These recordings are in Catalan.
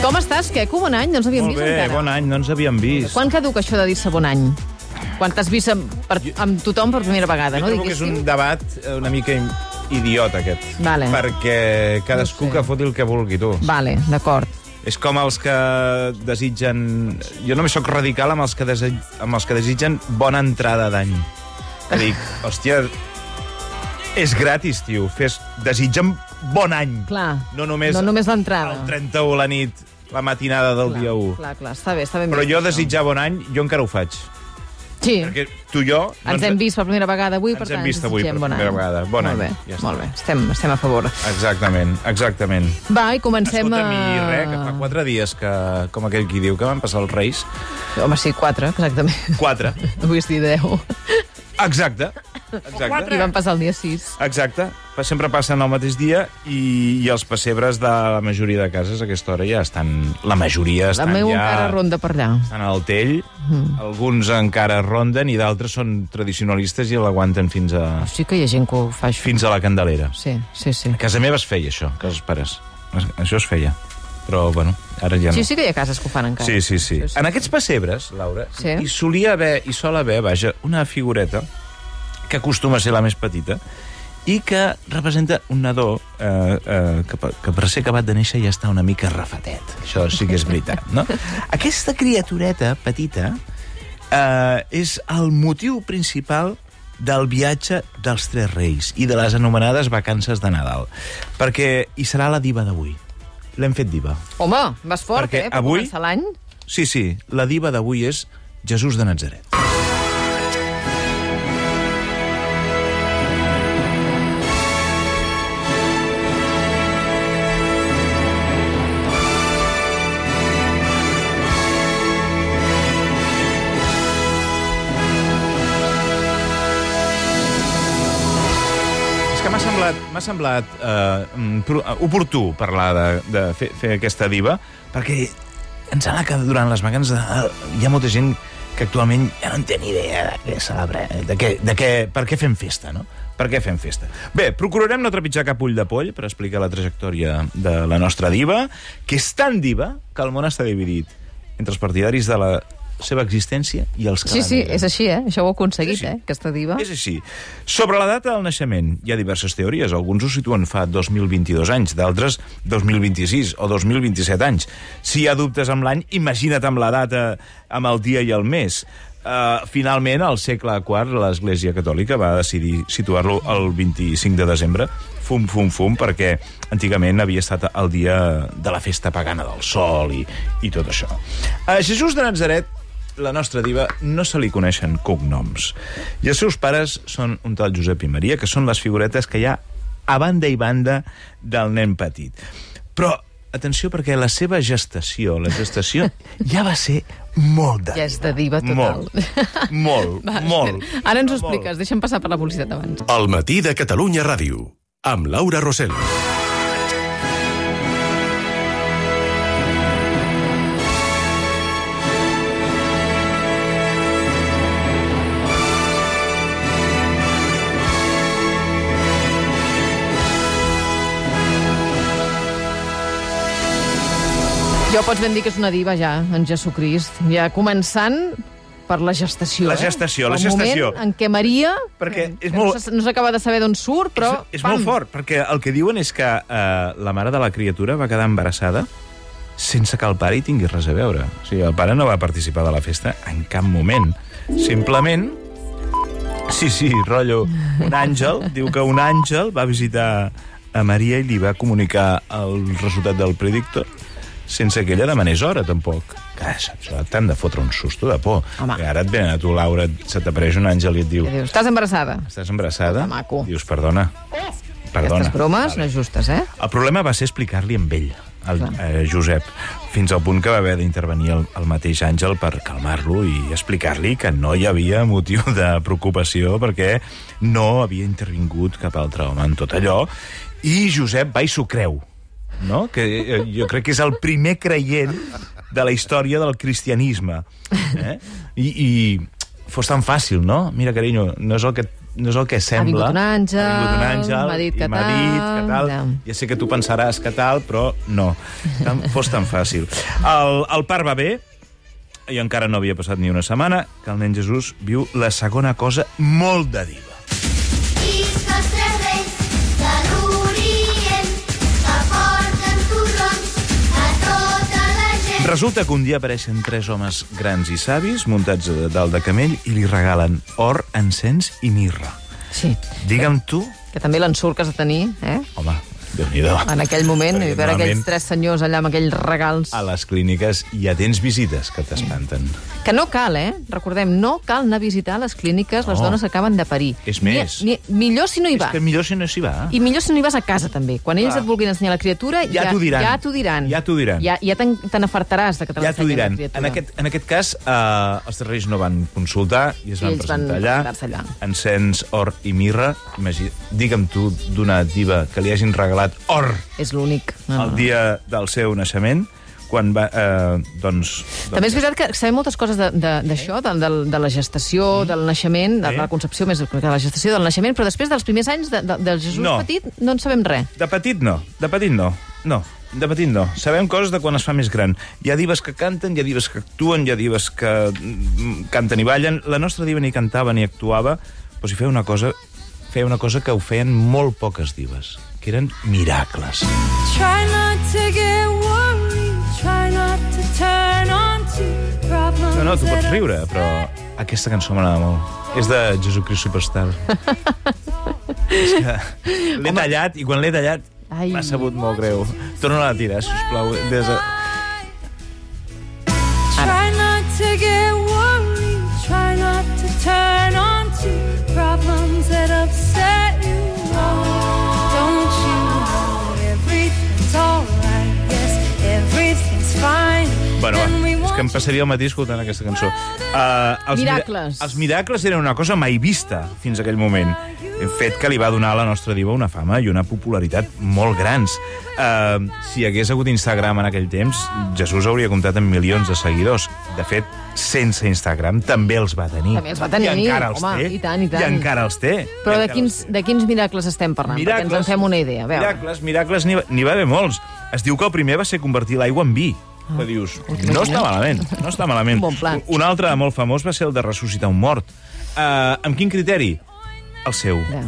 Com estàs, Queco? Bon any? No ens havíem Molt vist bé, encara. bon any, no ens havíem vist. Quan caduc això de dir-se bon any? Quan t'has vist amb, per, amb tothom per primera vegada, Jo no? trobo que és un debat eh, una mica im- idiota, aquest. Vale. Perquè cadascú No sé. que foti el que vulgui, tu. Vale, d'acord. És com els que desitgen... Jo només sóc radical amb els que, dese... amb els que desitgen bona entrada d'any. Que dic, hòstia, és gratis, tio. Fes... Desitja'm bon any. Clar. No només, No només l'entrada. el 31 la nit, la matinada del Clar, dia 1. Clar, clar, està bé, està ben Però vist, jo això. desitjar bon any, jo encara ho faig. Sí, Perquè tu i jo... no ens hem vist per primera vegada avui, per Ens hem tant... vist avui desitgem per bon any. primera vegada. Bon molt any, Bé, ja ja està. molt bé, estem, estem a favor. Exactament, exactament. Va, i comencem a... Escolta'm, i res, que fa quatre dies que, com aquell qui diu que van passar els Reis, Home, sí, quatre, exactament. quatre. Avui és dir deu. Exacte. I Exacte. van passar el dia sis. Exacte. Pa- Sempre passen el mateix dia i, i els pessebres de la majoria de cases a aquesta hora ja estan... La majoria La estan meva ja... encara ronda per allà. Estan al tell. Mm. Alguns encara ronden i d'altres són tradicionalistes i l'aguanten fins a, Sí que hi ha gent que ho fa això. fins a la candelera. Sí, sí, sí. A casa meva es feia això, a casa pares. Es- Això es feia. Però, bueno, ara ja no. Sí, sí que hi ha cases que ho fan encara. Sí, sí, sí. Sí, sí. En aquests pessebres, Laura, Sí. sí. hi solia haver, i sol haver, vaja, una figureta que acostuma a ser la més petita i que representa un nadó eh, eh, que, pe- que per ser acabat de néixer ja està una mica rafatet. Això sí que és veritat, no? Aquesta criatureta petita eh, és el motiu principal del viatge dels Tres Reis i de les anomenades vacances de Nadal, perquè hi serà la diva d'avui. L'hem fet diva. Home, vas fort, Perquè eh? Per avui- començar l'any. Sí, sí, la diva d'avui és Jesús de Nazaret. És que m'ha semblat, m'ha semblat eh, mm, pro- eh, oportú parlar de, de fer, fer aquesta diva, perquè em sembla que durant les vacances de Nadal hi ha molta gent que actualment ja no en té ni idea de què celebrar, de què, de què, per què fem festa, no? Per què fem festa? Bé, procurarem no trepitjar cap ull de poll per explicar la trajectòria de la nostra diva, que és tan diva que el món està dividit entre els partidaris de la seva existència i els que Sí, la sí, neguen. és així, eh? Això ho ha aconseguit, Sí, sí. eh? Aquesta diva. És així. Sobre la data del naixement, hi ha diverses teories. Alguns ho situen fa 2022 anys, d'altres 2026 o 2027 anys. Si hi ha dubtes amb l'any, imagina't amb la data, amb el dia i el mes. Uh, finalment, al segle IV, l'Església Catòlica va decidir situar-lo el 25 de desembre, fum, fum, fum, perquè antigament havia estat el dia de la festa pagana del sol i, i tot això. A Jesús de Nazaret la nostra diva no se li coneixen cognoms. I els seus pares són un tal Josep i Maria, que són les figuretes que hi ha a banda i banda del nen petit. Però, atenció, perquè la seva gestació, la gestació ja va ser molt de Ja és de diva total. Molt, molt, Va, molt. Ara ens ho Molt. expliques. Deixa'm passar per la publicitat abans. El matí de Catalunya Ràdio, amb Laura Rosell. Jo pots ben dir que és una diva ja, en Jesucrist. Ja començant per la gestació, La eh? gestació, la El gestació. moment en què Maria... Perquè és que molt- No se- no s'acaba de saber d'on surt, però... És, és molt fort, perquè el que diuen és que eh, la mare de la criatura va quedar embarassada sense que el pare hi tingui res a veure. O sigui, el pare no va participar de la festa en cap moment. Simplement... Sí, sí, rotllo. Un àngel, diu que un àngel va visitar a Maria i li va comunicar el resultat del predictor sense que ella demanés hora, tampoc. Clar, saps, t'han de fotre un susto de por. Home. Que Ara et venen a tu, Laura, se t'apareix un àngel i et diu... Ja dius, estàs embarassada. Estàs embarassada? Que maco. Dius, perdona. Perdona. Aquestes bromes Vale. no justes, eh? El problema va ser explicar-li amb ell, el, Clar. eh, Josep, fins al punt que va haver d'intervenir el, el mateix àngel per calmar-lo i explicar-li que no hi havia motiu de preocupació perquè no havia intervingut cap altre home en tot allò i Josep va i s'ho creu. No? que eh, jo crec que és el primer creient de la història del cristianisme eh? I, i fos tan fàcil, no? Mira, carinyo, no és el que no és el que vingut sembla. un àngel, Ha vingut un àngel, m'ha dit i que m'ha dit que tal, tal. ja. Ja sé que tu pensaràs que tal, però no. Tan, fos tan fàcil. El, el part va bé, i encara no havia passat ni una setmana, que el nen Jesús viu la segona cosa molt de diva. Iscos tres reis que l'orient, que porten corrons a tota la gent. Resulta que un dia apareixen tres homes grans i savis muntats a dalt de camell i li regalen or, encens i mirra. Sí, Digue'm tu... que també l'ensurt que has de tenir, eh? Home, Déu-n'hi-do. En aquell moment, i Perquè veure aquells normalment- Ah. tres senyors allà amb aquells regals... A les clíniques ja tens visites que t'espanten. Que no cal, eh? Recordem, no cal anar a visitar les clíniques les No. dones que acaben de parir. És Ni- més. Ni, millor si no hi És va. que millor si no s'hi va. I millor si no hi vas a casa, també. Quan ells et vulguin ensenyar la criatura... Ja t'ho diran. Ja t'ho diran. Ja t'ho diran. Ja, ja te'n- te n'afartaràs de que te Ja t'ho l'ensenyin, la diran. criatura. En aquest, en aquest cas, eh, els terrorers no van consultar i es I van ells van presentar allà. presentar-se allà. Encens, or i mirra. Imagina, digue'm tu d'una diva que li hagin regalat or És l'únic. No, el no. dia del seu naixement, quan va... Eh, doncs, doncs... També és veritat que sabem moltes coses de- de- d'això, de, de, de, la gestació, del naixement, de, Mm. Sí. la concepció més que de la gestació, del naixement, però després dels primers anys de, de, del Jesús No. petit no en sabem res. De petit no, de petit no, no. De petit no. Sabem coses de quan es fa més gran. Hi ha divas que canten, hi ha divas que actuen, hi ha divas que mm, canten i ballen. La nostra diva ni cantava ni actuava, però si feia una cosa, feia una cosa que ho feien molt poques divas, que eren miracles. Try not to get worried. Try not to turn on to problems. No, no, tu pots that riure, però aquesta cançó m'agrada molt. És de Jesucrist Superstar. És que l'he tallat i quan l'he tallat Ai. m'ha sabut molt greu. Torna-la a tirar, sisplau. Des de... Try not to get worried. Try not to turn on to problems that upset you. Oh, don't you know everything's alright? Yes, everything's fine. Bueno, And va, we és que em want passaria el mateix escoltant aquesta cançó. Uh, els Miracles. Mira els miracles eren una cosa mai vista fins aquell moment. Fet que li va donar a la nostra diva una fama i una popularitat molt grans. Uh, si hi hagués hagut Instagram en aquell temps, Jesús hauria comptat amb milions de seguidors. De fet, sense Instagram també els va tenir. També els va tenir, I encara els home, té. i tant, i tant. I encara els té. Però I de encara quins, els té. de quins miracles estem parlant? Miracles, Perquè ens en fem una idea. A veure, Miracles, miracles, n'hi va, n'hi va haver molts. Es diu que el primer va ser convertir l'aigua en vi. Ah. Que dius, no està malament, no està malament. Un bon pla. Un altre molt famós va ser el de ressuscitar un mort. Uh, amb quin criteri? El seu. Ja.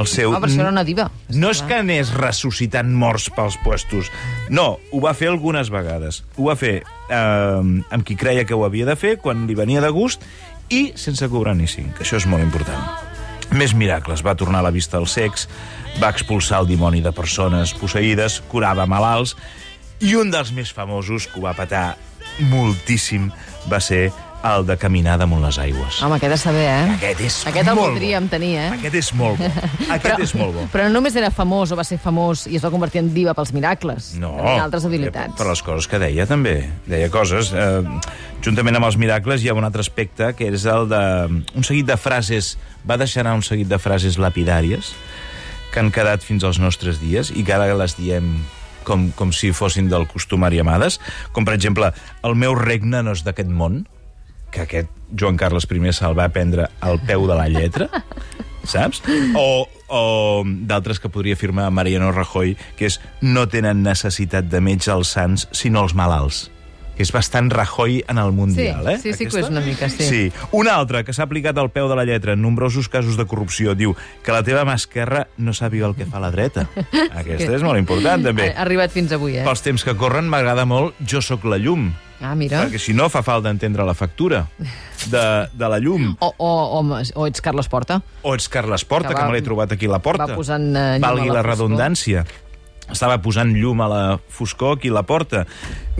El seu. Home, però això era una diva. No és que anés ressuscitant morts pels puestos. No, ho va fer algunes vegades. Ho va fer eh, amb qui creia que ho havia de fer, quan li venia de gust, i sense cobrar ni cinc. Això és molt important. Més miracles. Va tornar a la vista als secs, va expulsar el dimoni de persones posseïdes, curava malalts, i un dels més famosos que ho va patar moltíssim va ser el de caminar damunt les aigües. Home, aquest de saber, eh? Aquest és Aquest el molt voldríem bo. tenir, eh? Aquest és molt bo. Aquest és molt bo. Però no només era famós o va ser famós i es va convertir en diva pels miracles. No. Tenia altres habilitats. Per les coses que deia, també. Deia coses. Eh, juntament amb els miracles hi ha un altre aspecte, que és el de... Un seguit de frases... Va deixar anar un seguit de frases lapidàries que han quedat fins als nostres dies i que ara les diem com, com si fossin del costumari amades. Com, per exemple, el meu regne no és d'aquest món, que aquest Joan Carles I se'l va prendre al peu de la lletra, saps? O, o d'altres que podria afirmar Mariano Rajoy, que és no tenen necessitat de metge els sants, sinó els malalts. Que és bastant Rajoy en el Mundial, eh? sí, sí que ho és una mica, sí. Sí. Un altre que s'ha aplicat al peu de la lletra en nombrosos casos de corrupció diu que la teva mà esquerra no sàpiga el que fa la dreta. Aquesta és molt important, també. Ha, ha arribat fins avui, eh? Pels temps que corren m'agrada molt Jo sóc la llum, Ah, mira. perquè si no fa falta entendre la factura de, de la llum. O, o, o, o ets Carles Porta. O ets Carles Porta, Que que, va- me l'he trobat aquí a la porta. va posant, eh, llum a Valgui la la, foscor. redundància. Estava posant llum a la foscor aquí a la porta.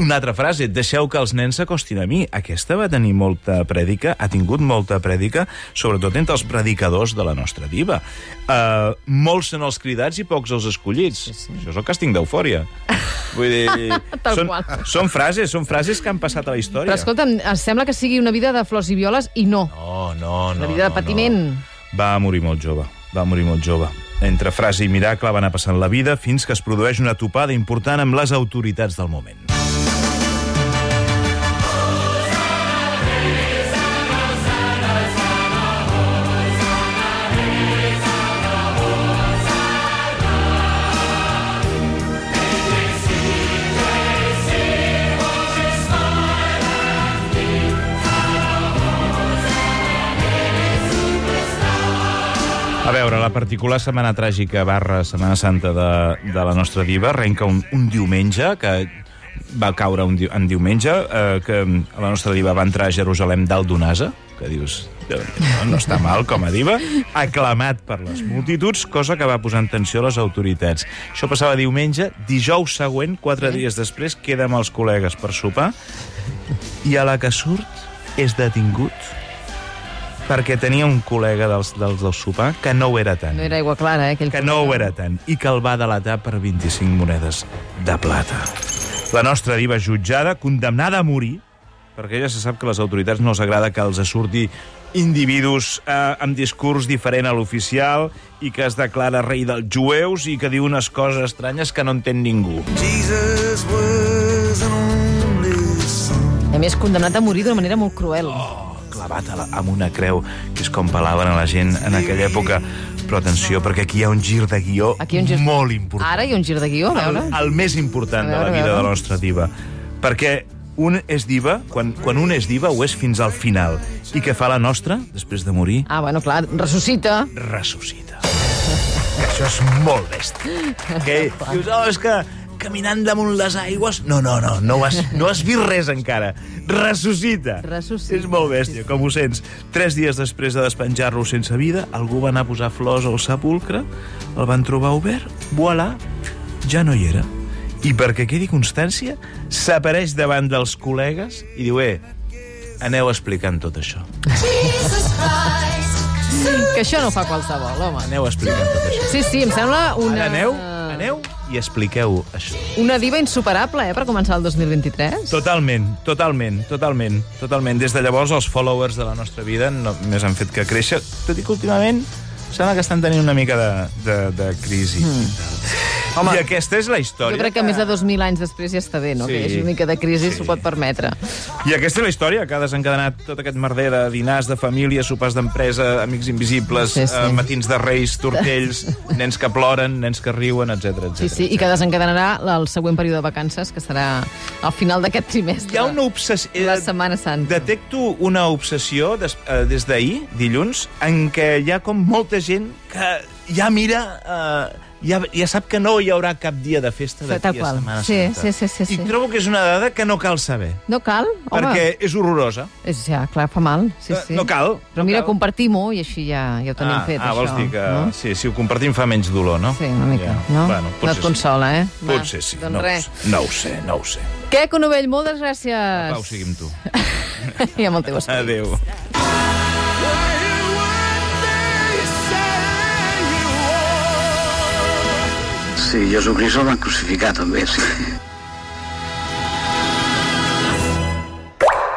Una altra frase, deixeu que els nens s'acostin a mi. Aquesta va tenir molta prèdica, ha tingut molta prèdica, sobretot entre els predicadors de la nostra diva. Uh, molts són els cridats i pocs els escollits. Sí, sí. Això és el càsting d'eufòria. Vull dir... Tal són, qual. són frases, són frases que han passat a la història. Però escolta'm, es sembla que sigui una vida de flors i violes i no. No, Oh, no, no. Una vida de no, patiment. No. Va morir molt jove, va morir molt jove. Entre frase i miracle va anar passant la vida fins que es produeix una topada important amb les autoritats del moment. veure, la particular setmana tràgica barra Setmana Santa de, de la nostra diva arrenca un, un diumenge que va caure un di en diumenge eh, que la nostra diva va entrar a Jerusalem dalt d'un asa, que dius "Déu n'hi do, no està mal com a diva, aclamat per les multituds, cosa que va posar en tensió les autoritats. Això passava diumenge, dijous següent, quatre dies després, queda amb els col·legues per sopar i a la que surt és detingut perquè tenia un col·lega dels, dels del sopar que no ho era tant. No era aigua clara, eh? Aquell que no ho era tant i que el va delatar per 25 monedes de plata. La nostra diva jutjada, condemnada a morir, perquè ja se sap que a les autoritats no els agrada que els surti individus eh, amb discurs diferent a l'oficial i que es declara rei dels jueus i que diu unes coses estranyes que no entén ningú. Jesus was an only son. A més, condemnat a morir d'una manera molt cruel. clavat a la, amb una creu, que és com palaven a la gent en aquella època. Però atenció, perquè aquí hi ha un gir de guió Aquí hi ha un gir- molt important. Ara hi ha un gir de guió, a el, veure. el més important A veure, de la vida a de veure. la nostra diva. Perquè un és diva, quan, quan un és diva ho és fins al final. I què fa la nostra, després de morir? Ah, bueno, clar, ressuscita. Ressuscita. Això és molt bèstia. Que dius, oh, és que caminant damunt les aigües... No, no, no, no has, no has vist res encara. Ressuscita. Ressuscita, És molt bèstia, com ho sents. Tres dies després de despenjar-lo sense vida, algú va anar a posar flors al sepulcre, el van trobar obert, voilà, ja no hi era. I perquè quedi constància, s'apareix davant dels col·legues i diu, eh, aneu explicant tot això. Que això no ho fa qualsevol, home. Aneu explicant tot això. Sí, sí, em sembla una... Ara aneu, aneu i expliqueu això. Una diva insuperable, eh, per començar el 2023. Totalment, totalment, totalment, totalment. Des de llavors els followers de la nostra vida no, més han fet que créixer, tot i que últimament sembla que estan tenint una mica de, de, de crisi. Mm. Home, I aquesta és la història. Hmm. Jo crec que més de 2.000 anys després ja està bé, no? Sí. Que hi hagi una mica de crisi, s'ho pot permetre. I aquesta és la història que ha desencadenat tot aquest merder de dinars de família, sopars d'empresa, amics invisibles, Sí, sí, sí. sí. Eh, matins de reis, tortells, nens que ploren, nens que riuen, etc. Sí, sí, i que desencadenarà el següent període de vacances, que serà al final d'aquest trimestre. Hi ha una eh, obsessió... La Setmana Santa. Detecto una obsessió des, eh, des d'ahir, dilluns, en què hi ha com molta gent que ja mira... Eh, ja, ja sap que no hi haurà cap dia de festa d'aquí Tal a qual. Setmana Sí, Santa. sí, sí, sí, sí. I trobo que és una dada que no cal saber, No cal, home. perquè és horrorosa. És, ja, clar, fa mal. Sí, Eh, sí. no cal, Però no mira, cal. compartim-ho i així ja, ja ho tenim ah, fet, ah, això. vols dir que... No? Sí, si ho compartim fa menys dolor, no? Sí, una mica, no? no Bueno, et potser consola, eh? sí. Va, Potser sí, Doncs no, ho res. sé, no ho sé, no ho sé. Què, Conovell, moltes gràcies. Pau, sigui amb tu. I amb el teu esperit. Adéu. Sí, Jesucrist el van crucificar també, sí.